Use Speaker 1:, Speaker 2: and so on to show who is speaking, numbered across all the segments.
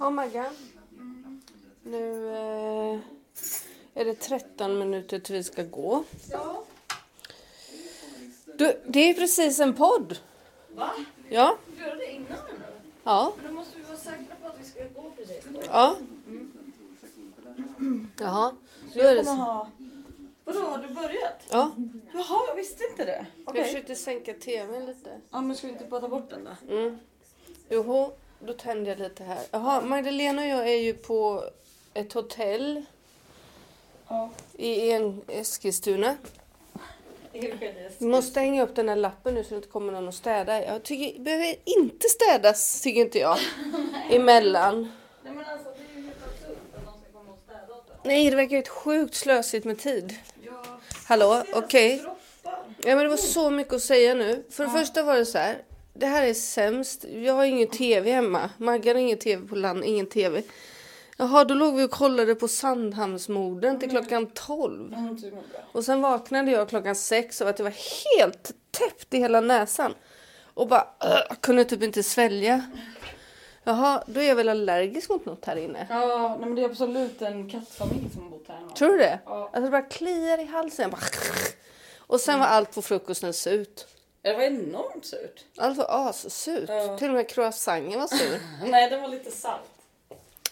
Speaker 1: Oh my god. Nu eh, är det 13 minuter till vi ska gå.
Speaker 2: Ja.
Speaker 1: Du, det är precis en podd.
Speaker 2: Va?
Speaker 1: Ja,
Speaker 2: Får vi göra det innan nu då?
Speaker 1: ja,
Speaker 2: Men då måste vi vara säkra på att vi ska gå precis.
Speaker 1: ja. Jaha, då är det så.
Speaker 2: ha... Vadå, har du börjat?
Speaker 1: Ja,
Speaker 2: Jaha, jag visste inte det.
Speaker 1: jag försökte sänka tvn lite.
Speaker 2: Ja, men ska vi inte bara ta bort den då?
Speaker 1: Mm. Joho, då tände jag lite här. Jaha, Magdalena och jag är ju på ett hotell
Speaker 2: Ja.
Speaker 1: i en Eskilstuna. Vi måste hänga upp den här lappen nu så det inte kommer någon att städa. Jag tycker, behöver inte städas, tycker inte jag. Emellan.
Speaker 2: Nej men alltså det är ju helt absurt att någon ska komma och städa åt en.
Speaker 1: Nej, det verkar helt sjukt slösigt med tid.
Speaker 2: Ja.
Speaker 1: Hallå, okej.
Speaker 2: Droppar.
Speaker 1: Ja, men det var så mycket att säga nu. För det första var det så här. Det här är sämst. Jag har ingen tv hemma. Maggan har ingen tv på land, ingen tv. Jaha, då låg vi och kollade på Sandhamnsmorden till klockan 12.
Speaker 2: Mm, typ nog bra.
Speaker 1: Och sen vaknade jag klockan sex av att jag var helt täppt i hela näsan. Och bara "Ugh", kunde typ inte svälja. Jaha, då är jag väl allergisk mot något här inne.
Speaker 2: Ja, nej men det är absolut en kattfamilj som har bott här.
Speaker 1: Tror du det?
Speaker 2: Ja.
Speaker 1: Alltså det bara kliar i halsen. Bara. Och sen var allt på frukosten surt.
Speaker 2: Det var enormt surt.
Speaker 1: Allt var assurt.
Speaker 2: Ja.
Speaker 1: Till och med croissanten var sur.
Speaker 2: Nej, den var lite salt.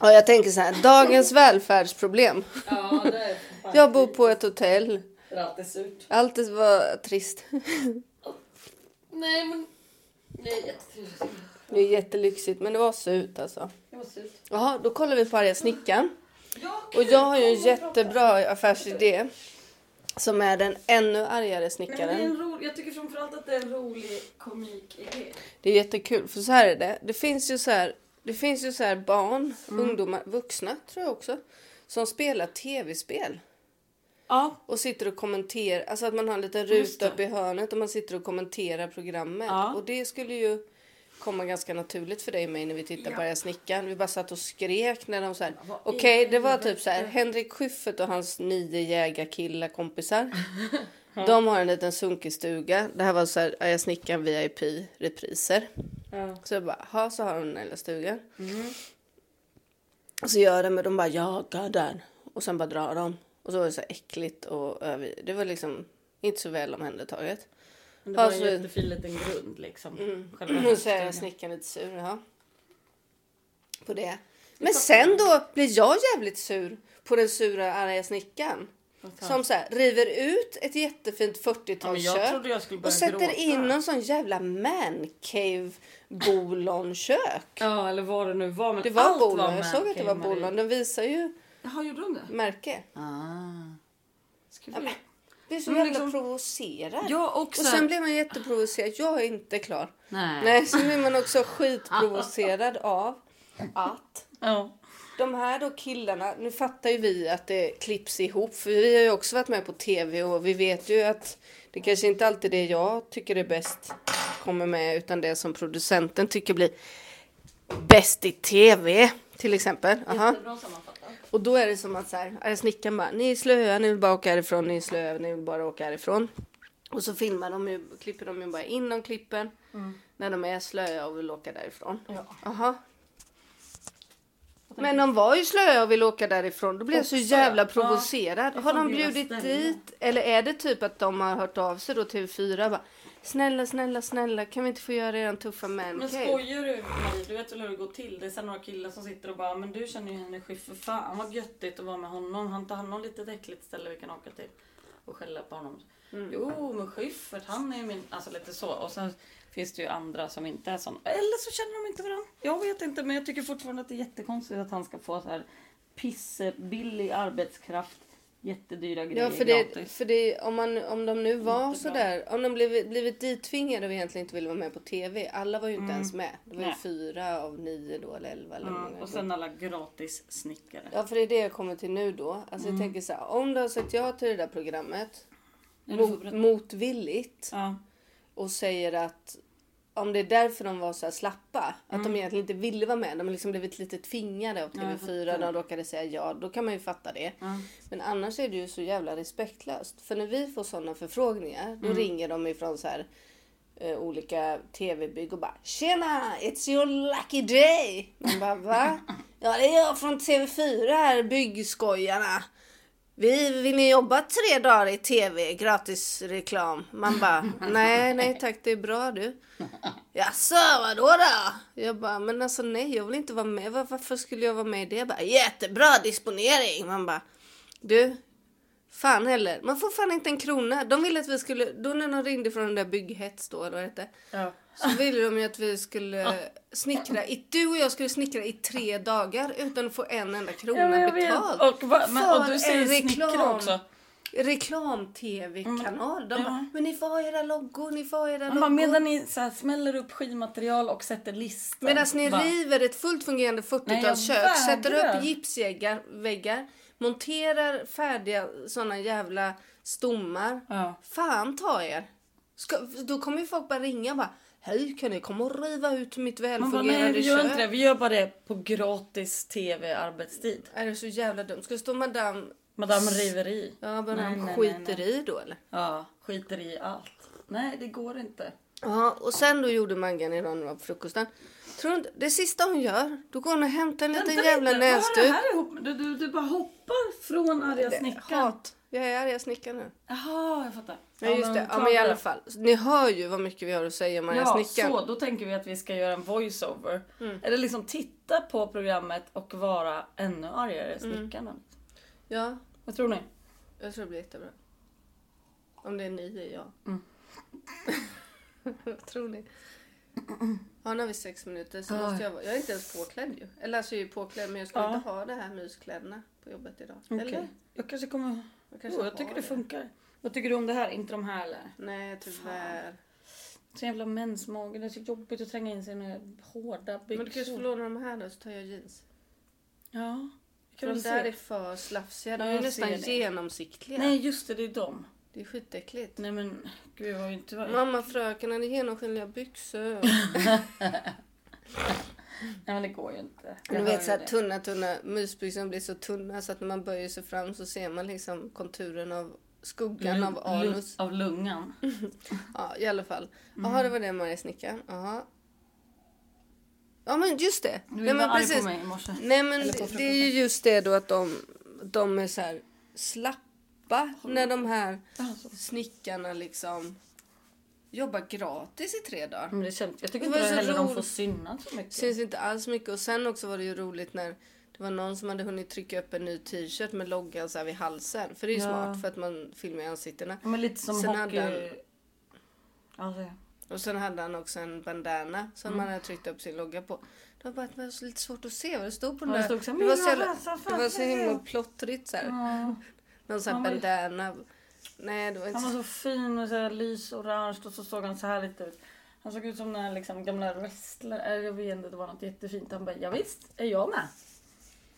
Speaker 1: Och jag tänker så här, dagens välfärdsproblem.
Speaker 2: Ja, det är fan
Speaker 1: Jag bor på ett hotell.
Speaker 2: Det är alltid surt.
Speaker 1: Allt var trist.
Speaker 2: Nej men... Det är jättetrist.
Speaker 1: Det är jättelyxigt men det var surt alltså.
Speaker 2: Det var surt.
Speaker 1: Jaha, då kollar vi på arga snickaren.
Speaker 2: Ja,
Speaker 1: Och jag har ju en jättebra affärsidé. Som är den ännu argare
Speaker 2: Nej, men det är
Speaker 1: snickaren.
Speaker 2: en rolig, jag tycker framförallt att det är en rolig komikidé.
Speaker 1: Det är jättekul för så här är det. Det finns ju så här, det finns ju så här barn,
Speaker 2: Mm.
Speaker 1: ungdomar, vuxna tror jag också. Som spelar tv-spel.
Speaker 2: Ja.
Speaker 1: Och sitter och kommenterar, alltså att man har en liten
Speaker 2: Just
Speaker 1: ruta
Speaker 2: det.
Speaker 1: uppe i hörnet och man sitter och kommenterar programmet.
Speaker 2: Ja.
Speaker 1: Och det skulle ju komma ganska naturligt för dig och mig när vi tittar
Speaker 2: Ja.
Speaker 1: på Arga snickaren. Vi bara satt och skrek när de så här.
Speaker 2: Vad i
Speaker 1: Okej, det var
Speaker 2: helvete?
Speaker 1: typ så här. Henrik Schyffert och hans nio jägarkillar kompisar. De har en liten sunkig stuga. Det här var så här Arga snickaren VIP repriser.
Speaker 2: Ja.
Speaker 1: Så jag bara, ha så har de den här lilla stugan. Och så gör de, men de bara, ja, där. Och sen bara drar de. Och så var det så här äckligt och över. Det var liksom inte så väl omhändertaget.
Speaker 2: Det
Speaker 1: var en Alltså-
Speaker 2: jättefin liten grund liksom.
Speaker 1: Och Mm. så är snickaren lite sur, ja. På det. Men sen då blir jag jävligt sur på den sura arga snickaren. Som så här, river ut ett jättefint 40-talskök.
Speaker 2: jag skulle
Speaker 1: och sätter in någon sån jävla mancave bolånkök.
Speaker 2: Ja eller vad det nu var. Men
Speaker 1: Det var
Speaker 2: allt
Speaker 1: bolån. Jag
Speaker 2: man
Speaker 1: såg att det var
Speaker 2: came i.
Speaker 1: bolån. Den visar ju
Speaker 2: Jaha gjorde hon det?
Speaker 1: märke.
Speaker 2: Ah. Ska
Speaker 1: Ja,
Speaker 2: vi...
Speaker 1: men- Det är så
Speaker 2: Men
Speaker 1: jävla
Speaker 2: liksom-
Speaker 1: provocerad.
Speaker 2: Ja och
Speaker 1: Och
Speaker 2: sen...
Speaker 1: sen blir man jätteprovocerad. Jag är inte klar.
Speaker 2: Nej.
Speaker 1: Nej, så blir man också skitprovocerad av att
Speaker 2: Ja.
Speaker 1: de här då killarna, nu fattar ju vi att det klipps ihop för vi har ju också varit med på tv och vi vet ju att det kanske inte alltid det jag tycker är bäst kommer med utan det som producenten tycker blir bäst i tv till exempel. Aha.
Speaker 2: Jättebra sammanfattat.
Speaker 1: Och då är det som att så här, är snickaren bara, ni är slöa, ni vill bara åka härifrån, ni är slöa, ni vill bara åka härifrån. Och så filmar de ju, klipper de ju bara in de klippen när de är slöa och vill åka därifrån.
Speaker 2: Mm. Ja.
Speaker 1: Aha. Men de var ju slöa och ville åka därifrån. Då blev jag så
Speaker 2: Också,
Speaker 1: jävla
Speaker 2: ja.
Speaker 1: provocerad.
Speaker 2: Ja,
Speaker 1: Har de
Speaker 2: det är deras
Speaker 1: bjudit
Speaker 2: ställe.
Speaker 1: dit? Eller är det typ att de har hört av sig då till TV4 bara Snälla, snälla, snälla, kan vi inte få göra er tuffa
Speaker 2: Men
Speaker 1: mancave?
Speaker 2: skojar du Marie? Du vet väl hur det går till? Det är sen några killar som sitter och bara Men du känner ju Henrik Schyffert, fan vad göttigt att vara med honom. Han tar hand om litet äckligt ställe vi kan åka till och skälla på honom.
Speaker 1: Mm.
Speaker 2: Jo men Schyffert han är ju min... Alltså lite så. Och sen finns det ju andra som inte är sån. Eller så känner de inte varandra. Jag vet inte men jag tycker fortfarande att det är jättekonstigt att han ska få så här pissbillig arbetskraft. Jättedyra grejer
Speaker 1: Ja, för, det,
Speaker 2: gratis.
Speaker 1: för det, om, man, om de nu var
Speaker 2: Jättebra.
Speaker 1: sådär, om de blivit, blivit ditvingade och egentligen inte ville vara med på TV. Alla var ju inte ens med. Det var ju
Speaker 2: Mm. Nej.
Speaker 1: fyra av nio då, eller elva eller hur
Speaker 2: Ja,
Speaker 1: många det
Speaker 2: Mm, och sen alla gratis snickare.
Speaker 1: Ja, för det är det jag kommer till nu då. Alltså
Speaker 2: Mm.
Speaker 1: jag tänker så här, om du har sagt ja till det där programmet
Speaker 2: Ja, du får
Speaker 1: mot,
Speaker 2: berätta.
Speaker 1: motvilligt
Speaker 2: Ja.
Speaker 1: och säger att om det är därför de var så här slappa, att de egentligen inte ville vara med, de har liksom blivit lite tvingade av
Speaker 2: Mm. Ja, jag
Speaker 1: TV4, de
Speaker 2: fattar.
Speaker 1: råkade säga ja, då kan man ju fatta det.
Speaker 2: Ja.
Speaker 1: Men annars är det ju så jävla respektlöst. För när vi får sådana förfrågningar, då ringer de ifrån så här eh, olika tv-bygg och bara “Tjena! It's your lucky day!” Man bara “Va?” Ja, det är jag från TV4 här, byggskojarna. Vi vill ni jobba tre dagar i TV, gratis reklam. Man bara, nej, nej tack, det är bra du. Jaså, vadå då? Jag bara, men alltså nej, jag vill inte vara med. Var- Varför skulle jag vara med i det? Jag bara, jättebra disponering. Man bara, du, fan heller. Man får fan inte en krona. De ville att vi skulle, då när de ringde från den där Bygghets då, eller vad det hette,
Speaker 2: Ja.
Speaker 1: så ville de ju att vi skulle snickra, i, du och jag skulle snickra i tre dagar utan att få en enda krona betalt.
Speaker 2: Och, va, men, och
Speaker 1: För
Speaker 2: du
Speaker 1: en
Speaker 2: säger snickra
Speaker 1: reklam.
Speaker 2: också.
Speaker 1: Reklam-tv-kanal. De
Speaker 2: Mm,
Speaker 1: bara,
Speaker 2: ja.
Speaker 1: men ni får ha era loggor, ni får ha era
Speaker 2: Man bara,
Speaker 1: loggor.
Speaker 2: medan ni så här, smäller upp skivmaterial och sätter listor.
Speaker 1: Medan ni
Speaker 2: Va?
Speaker 1: river ett fullt fungerande
Speaker 2: Nej, jag
Speaker 1: 40-talskök, sätter
Speaker 2: vägrar.
Speaker 1: upp gipsväggar, monterar färdiga såna jävla stommar.
Speaker 2: Ja.
Speaker 1: Fan ta er! Ska, då kommer ju folk bara ringa och bara Hej kan ni komma och riva ut mitt
Speaker 2: Man bara, nej vi
Speaker 1: välfungerande
Speaker 2: gör inte
Speaker 1: kök?
Speaker 2: det. Vi gör bara det på gratis tv-arbetstid.
Speaker 1: Är det så jävla dumt? Ska det stå madame,
Speaker 2: Madame Riveri.
Speaker 1: ja, madame
Speaker 2: Nej, nej, nej,
Speaker 1: skiter
Speaker 2: nej.
Speaker 1: i då eller?
Speaker 2: Ja, skiter i allt. Nej, det går inte.
Speaker 1: Ja, och sen då gjorde Maggan idag när det var på frukosten. Tror du inte, det sista hon gör, då går hon och hämtar en liten
Speaker 2: Vänta
Speaker 1: jävla
Speaker 2: lite, vad har det
Speaker 1: näsduk.
Speaker 2: här ihop med? Du, du, du bara hoppar från arga snickaren.
Speaker 1: Hat. Jag är arga snickaren nu.
Speaker 2: Jaha, jag fattar.
Speaker 1: Nej just det, ja, men i alla fall. Ni hör ju vad mycket vi har att säga om arga
Speaker 2: Ja,
Speaker 1: snickaren.
Speaker 2: så då tänker vi att vi ska göra en voiceover.
Speaker 1: Mm.
Speaker 2: Eller liksom titta på programmet och vara ännu argare
Speaker 1: Mm.
Speaker 2: snickaren.
Speaker 1: Ja,
Speaker 2: Vad tror ni?
Speaker 1: jag tror det blir jättebra. Om det är ni är jag.
Speaker 2: Mm.
Speaker 1: vad tror ni? Ja, nu har vi sex minuter så
Speaker 2: Ja.
Speaker 1: måste jag vara... Jag är inte ens påklädd ju. Eller alltså jag är ju påklädd men jag skulle
Speaker 2: Ja.
Speaker 1: inte ha det här myskläderna på jobbet idag. Eller?
Speaker 2: Ah. Okej. Jag kanske kommer...
Speaker 1: Jag kanske
Speaker 2: Jo, jag
Speaker 1: har
Speaker 2: tycker det
Speaker 1: det.
Speaker 2: funkar. Vad tycker du om det här? Inte de här eller?
Speaker 1: Nej, tyvärr.
Speaker 2: Så jävla mensmage. Det är så jobbigt att tränga in sina hårda byxor.
Speaker 1: Men du kanske får låna de här då så tar jag jeans.
Speaker 2: Ja. vi
Speaker 1: För
Speaker 2: Kan
Speaker 1: de
Speaker 2: väl
Speaker 1: där
Speaker 2: se.
Speaker 1: är för slafsiga. De
Speaker 2: Ja,
Speaker 1: är ju
Speaker 2: jag
Speaker 1: nästan
Speaker 2: ser det.
Speaker 1: genomsiktliga.
Speaker 2: Nej just det, det är de.
Speaker 1: Det är skitäckligt.
Speaker 2: Nej men gud vad vi inte var... Nej
Speaker 1: Mamma fröken hade genomskinliga byxor.
Speaker 2: men det går ju inte.
Speaker 1: Du
Speaker 2: Jag
Speaker 1: vet
Speaker 2: hör
Speaker 1: så här,
Speaker 2: ju det.
Speaker 1: tunna tunna mysbyxor blir så tunna så att när man böjer sig fram så ser man liksom konturen av skuggan av
Speaker 2: Lu- lu-
Speaker 1: anus.
Speaker 2: Av lungan.
Speaker 1: Ja i alla fall. Jaha
Speaker 2: Mm.
Speaker 1: det var det Maria Snickaren. Jaha. Ja men just det.
Speaker 2: Du var
Speaker 1: Nej men
Speaker 2: arg
Speaker 1: precis.
Speaker 2: på mig i morse.
Speaker 1: Nej men
Speaker 2: Eller på
Speaker 1: det är ju just det då att de, de är så här slappa när de här snickarna liksom jobbar gratis i tre dagar.
Speaker 2: Men det känns, jag tycker
Speaker 1: Det var
Speaker 2: inte
Speaker 1: så
Speaker 2: heller de
Speaker 1: roligt.
Speaker 2: får synas så mycket.
Speaker 1: syns inte alls mycket. Och sen också var det ju roligt när det var någon som hade hunnit trycka upp en ny t-shirt med loggan så här vid halsen. För det är ju
Speaker 2: Ja.
Speaker 1: smart för att man filmar i ansiktena.
Speaker 2: Ja, Men lite som
Speaker 1: Sen
Speaker 2: hockey...
Speaker 1: hade han-
Speaker 2: Ja, så-
Speaker 1: Och sen hade han också en bandana som
Speaker 2: Mm.
Speaker 1: han hade tryckt upp sin logga på. Det var bara det var så lite svårt att se vad det stod på den
Speaker 2: Ja, det
Speaker 1: där.
Speaker 2: stod så här,
Speaker 1: det, var så
Speaker 2: "Mina
Speaker 1: jävla,
Speaker 2: rösa
Speaker 1: det var så
Speaker 2: färger."
Speaker 1: himla plottrigt så här.
Speaker 2: ja.
Speaker 1: Någon sån här
Speaker 2: Han var ju-
Speaker 1: bandana. Nej, det var inte
Speaker 2: Han
Speaker 1: så...
Speaker 2: var så fin och så här lysorange och så såg han så här lite ut. Han såg ut som den här liksom gamla wrestler. eller Jag vet inte, det var något jättefint. Han bara, ja, visst är jag med.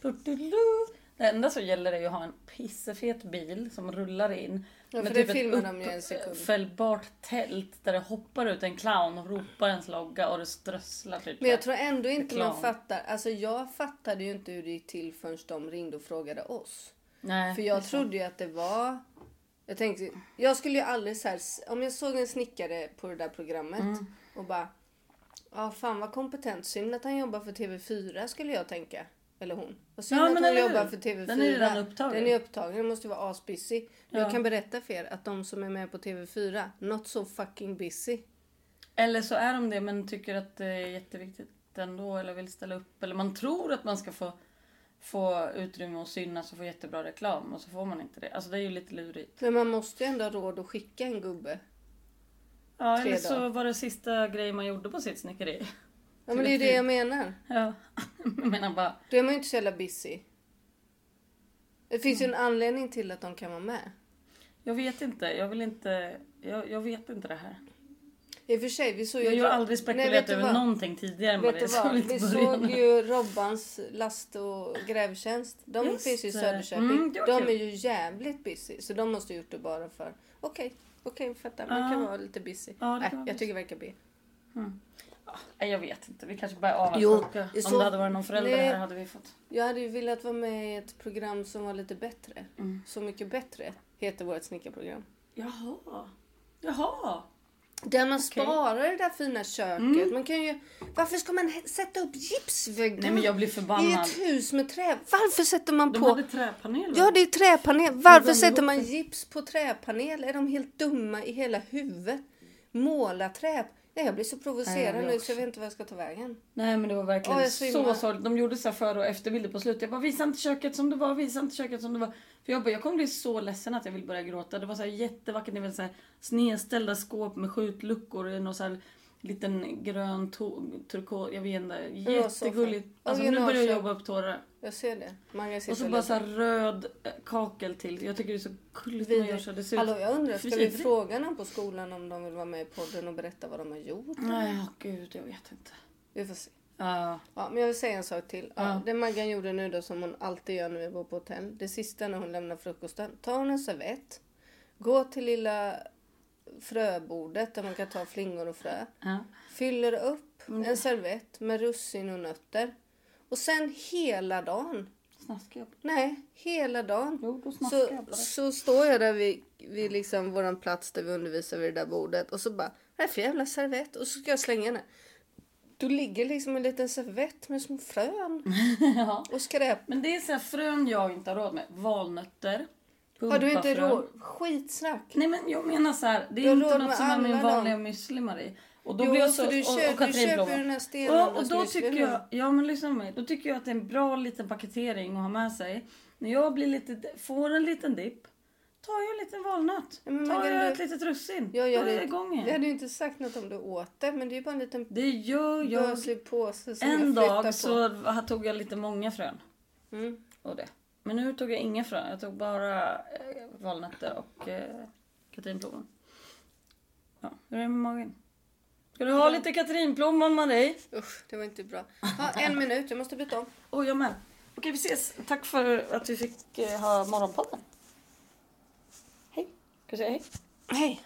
Speaker 2: Du-du-du. Det enda som gäller är ju att ha en pissefet bil som rullar in.
Speaker 1: Ja,
Speaker 2: med typ
Speaker 1: för det
Speaker 2: ett
Speaker 1: filmar de ju en sekund.
Speaker 2: uppfällbart tält där det hoppar ut en clown och ropar ens logga och det strösslar typ.
Speaker 1: Men jag tror ändå inte man
Speaker 2: Reklam.
Speaker 1: fattar. Alltså jag fattade ju inte hur det gick till förrän de ringde och frågade oss.
Speaker 2: Nej,
Speaker 1: För
Speaker 2: det är
Speaker 1: jag
Speaker 2: sant.
Speaker 1: trodde ju att det var... Jag tänkte, jag skulle ju aldrig så här, om jag såg en snickare på det där programmet
Speaker 2: Mm.
Speaker 1: och bara, ja fan vad kompetent, synd att han jobbar för TV4 skulle jag tänka. Eller hon. Vad synd
Speaker 2: Ja,
Speaker 1: att
Speaker 2: men
Speaker 1: han
Speaker 2: eller
Speaker 1: jobbar
Speaker 2: hur?
Speaker 1: för TV4.
Speaker 2: Den är ju redan upptagen.
Speaker 1: Den är upptagen, den måste ju vara asbusy. Men Jag
Speaker 2: Ja.
Speaker 1: kan berätta för er att de som är med på TV4, not so fucking busy.
Speaker 2: Eller så är de det men tycker att det är jätteviktigt ändå eller vill ställa upp. Eller man tror att man ska få, få utrymme och synas och få jättebra reklam och så får man inte det. Alltså det är ju lite lurigt.
Speaker 1: Men man måste ju ändå ha råd att skicka en gubbe.
Speaker 2: Ja,
Speaker 1: Tre
Speaker 2: eller så
Speaker 1: dagar.
Speaker 2: var det sista grejen man gjorde på sitt snickeri.
Speaker 1: Ja men det är ju det jag menar.
Speaker 2: Ja. Jag menar bara,
Speaker 1: Då är man ju inte så jävla busy. Det finns ju en anledning till att de kan vara med.
Speaker 2: jag vet inte, jag vill inte, jag, jag vet inte det här.
Speaker 1: I och för sig, vi såg ju...
Speaker 2: Jag har ju aldrig
Speaker 1: Nej, vet
Speaker 2: spekulerat
Speaker 1: du
Speaker 2: över
Speaker 1: vad?
Speaker 2: någonting tidigare än vad
Speaker 1: Vet
Speaker 2: det
Speaker 1: du
Speaker 2: är som
Speaker 1: vad?
Speaker 2: vi
Speaker 1: Vi såg ju Robbans last och grävtjänst. De
Speaker 2: Just
Speaker 1: finns ju i
Speaker 2: det.
Speaker 1: Söderköping.
Speaker 2: Mm, det var
Speaker 1: de
Speaker 2: kul.
Speaker 1: är ju jävligt busy. Så de måste ha gjort det bara för... Okej, okej, fattar. Man kan
Speaker 2: Ja.
Speaker 1: vara lite busy.
Speaker 2: Ja, det
Speaker 1: Nej,
Speaker 2: kan man
Speaker 1: jag tycker det verkar B.
Speaker 2: Nej, jag vet inte, vi kanske bara anar
Speaker 1: Jo,
Speaker 2: sjuka.
Speaker 1: jag
Speaker 2: Om
Speaker 1: såg-
Speaker 2: det hade varit någon förälder
Speaker 1: Nej.
Speaker 2: här hade vi fått.
Speaker 1: Jag hade ju velat vara med i ett program som var lite bättre.
Speaker 2: Mm.
Speaker 1: Så mycket bättre heter vårt snickarprogram.
Speaker 2: Jaha. Jaha.
Speaker 1: Där man sparar det där fina köket. Man kan ju, varför ska man he- sätta upp gipsväggar
Speaker 2: Mm. Nej men jag blir
Speaker 1: i
Speaker 2: förbannad.
Speaker 1: ett hus med trä? Varför sätter man
Speaker 2: De
Speaker 1: på...
Speaker 2: hade träpanel.
Speaker 1: Ja, det är träpanel. Varför
Speaker 2: de
Speaker 1: sätter
Speaker 2: ihop
Speaker 1: man gips på träpanel? Är de helt dumma i hela huvudet? Måla trä... Nej, jag blir så
Speaker 2: Nej, jag
Speaker 1: provocerad
Speaker 2: blir
Speaker 1: nu
Speaker 2: också.
Speaker 1: så jag vet inte vad jag ska ta vägen.
Speaker 2: Nej men det var verkligen
Speaker 1: Ja, jag svimmar.
Speaker 2: så sorgligt. De gjorde så här före och efterbilder på slutet. Jag bara visa inte köket som det var, visa inte köket som det var. För jag bara, jag kommer bli så ledsen att jag vill börja gråta. Det var så här jättevackert, ni vet så här snedställda skåp med skjutluckor i någon så här liten grön to- turkos, jag vet inte.
Speaker 1: var så
Speaker 2: Jättegulligt.
Speaker 1: fint.
Speaker 2: Alltså nu börjar jag
Speaker 1: Originalköp.
Speaker 2: jobba upp tårar.
Speaker 1: Jag ser det. Många
Speaker 2: Och så
Speaker 1: sitter
Speaker 2: bara så här röd eh, kakel till. Jag tycker det är så gulligt när liksom, man gör så. Det ser ut...
Speaker 1: Hallå, jag undrar, ska vi
Speaker 2: Vidrigt.
Speaker 1: fråga någon på skolan om de vill vara med i podden och berätta vad de har gjort?
Speaker 2: Nej, åh gud, jag vet inte.
Speaker 1: Vi får se.
Speaker 2: Ja.
Speaker 1: Ja, men jag vill säga en sak till. Ja,
Speaker 2: Ja.
Speaker 1: Det Maggan gjorde nu då som hon alltid gör när vi bor på hotell. Det sista när hon lämnar frukosten. Tar hon en servett. Går till lilla fröbordet där man kan ta flingor och frö.
Speaker 2: ja.
Speaker 1: Fyller upp
Speaker 2: Mm.
Speaker 1: en servett med russin och nötter. Och sen hela dagen.
Speaker 2: Snaskar jag?
Speaker 1: Nej, hela dagen.
Speaker 2: Jo, då snaskar jag.
Speaker 1: Så,
Speaker 2: bara.
Speaker 1: så står jag där vid, vid liksom våran plats där vi undervisar vid det där bordet och så bara, vad är det för jävla servett? Och så ska jag slänga den. Då ligger liksom en liten servett med små frön
Speaker 2: ja.
Speaker 1: och skräp.
Speaker 2: Men det är så här frön jag inte har råd med. Valnötter. Mm.
Speaker 1: Har du inte
Speaker 2: pumpafrön.
Speaker 1: råd? Skitsnack.
Speaker 2: Nej men jag menar så här, det
Speaker 1: Du har
Speaker 2: är inte
Speaker 1: råd med
Speaker 2: något som är min
Speaker 1: alla
Speaker 2: vanliga
Speaker 1: dem.
Speaker 2: müsli Marie. Och då
Speaker 1: Jo,
Speaker 2: blir jag
Speaker 1: så
Speaker 2: så...
Speaker 1: du,
Speaker 2: och,
Speaker 1: köp,
Speaker 2: och
Speaker 1: du
Speaker 2: Katrin
Speaker 1: köper
Speaker 2: Blomman.
Speaker 1: ju den här stenen.
Speaker 2: Ja, och då tycker jag, ja men lyssna på mig. Då tycker jag att det är en bra liten paketering att ha med sig. När jag blir lite, får en liten dipp, tar jag en liten valnöt.
Speaker 1: Ja, men
Speaker 2: tar
Speaker 1: Maggan,
Speaker 2: jag
Speaker 1: du-
Speaker 2: ett litet russin.
Speaker 1: Jag gör
Speaker 2: då är
Speaker 1: det
Speaker 2: det igång
Speaker 1: Vi
Speaker 2: igen.
Speaker 1: hade ju inte sagt något om du åt det, men det är ju bara en liten
Speaker 2: Det gör jag.
Speaker 1: böslig påse som jag
Speaker 2: En
Speaker 1: flyttar på.
Speaker 2: dag så tog jag lite många frön.
Speaker 1: Mm.
Speaker 2: och det. Men nu tog jag inga frön. Jag tog bara eh, valnötter och eh, katrinplommon. Ja, hur är det med magen? Ska du ha lite katrinplommon Marie?
Speaker 1: Usch, det var inte bra. Ha, en minut, jag måste byta om.
Speaker 2: Och Oh, jag med. Okej, vi ses. Tack för att vi fick eh, ha morgonpodden. Hej. Ska du säga hej?
Speaker 1: Hej.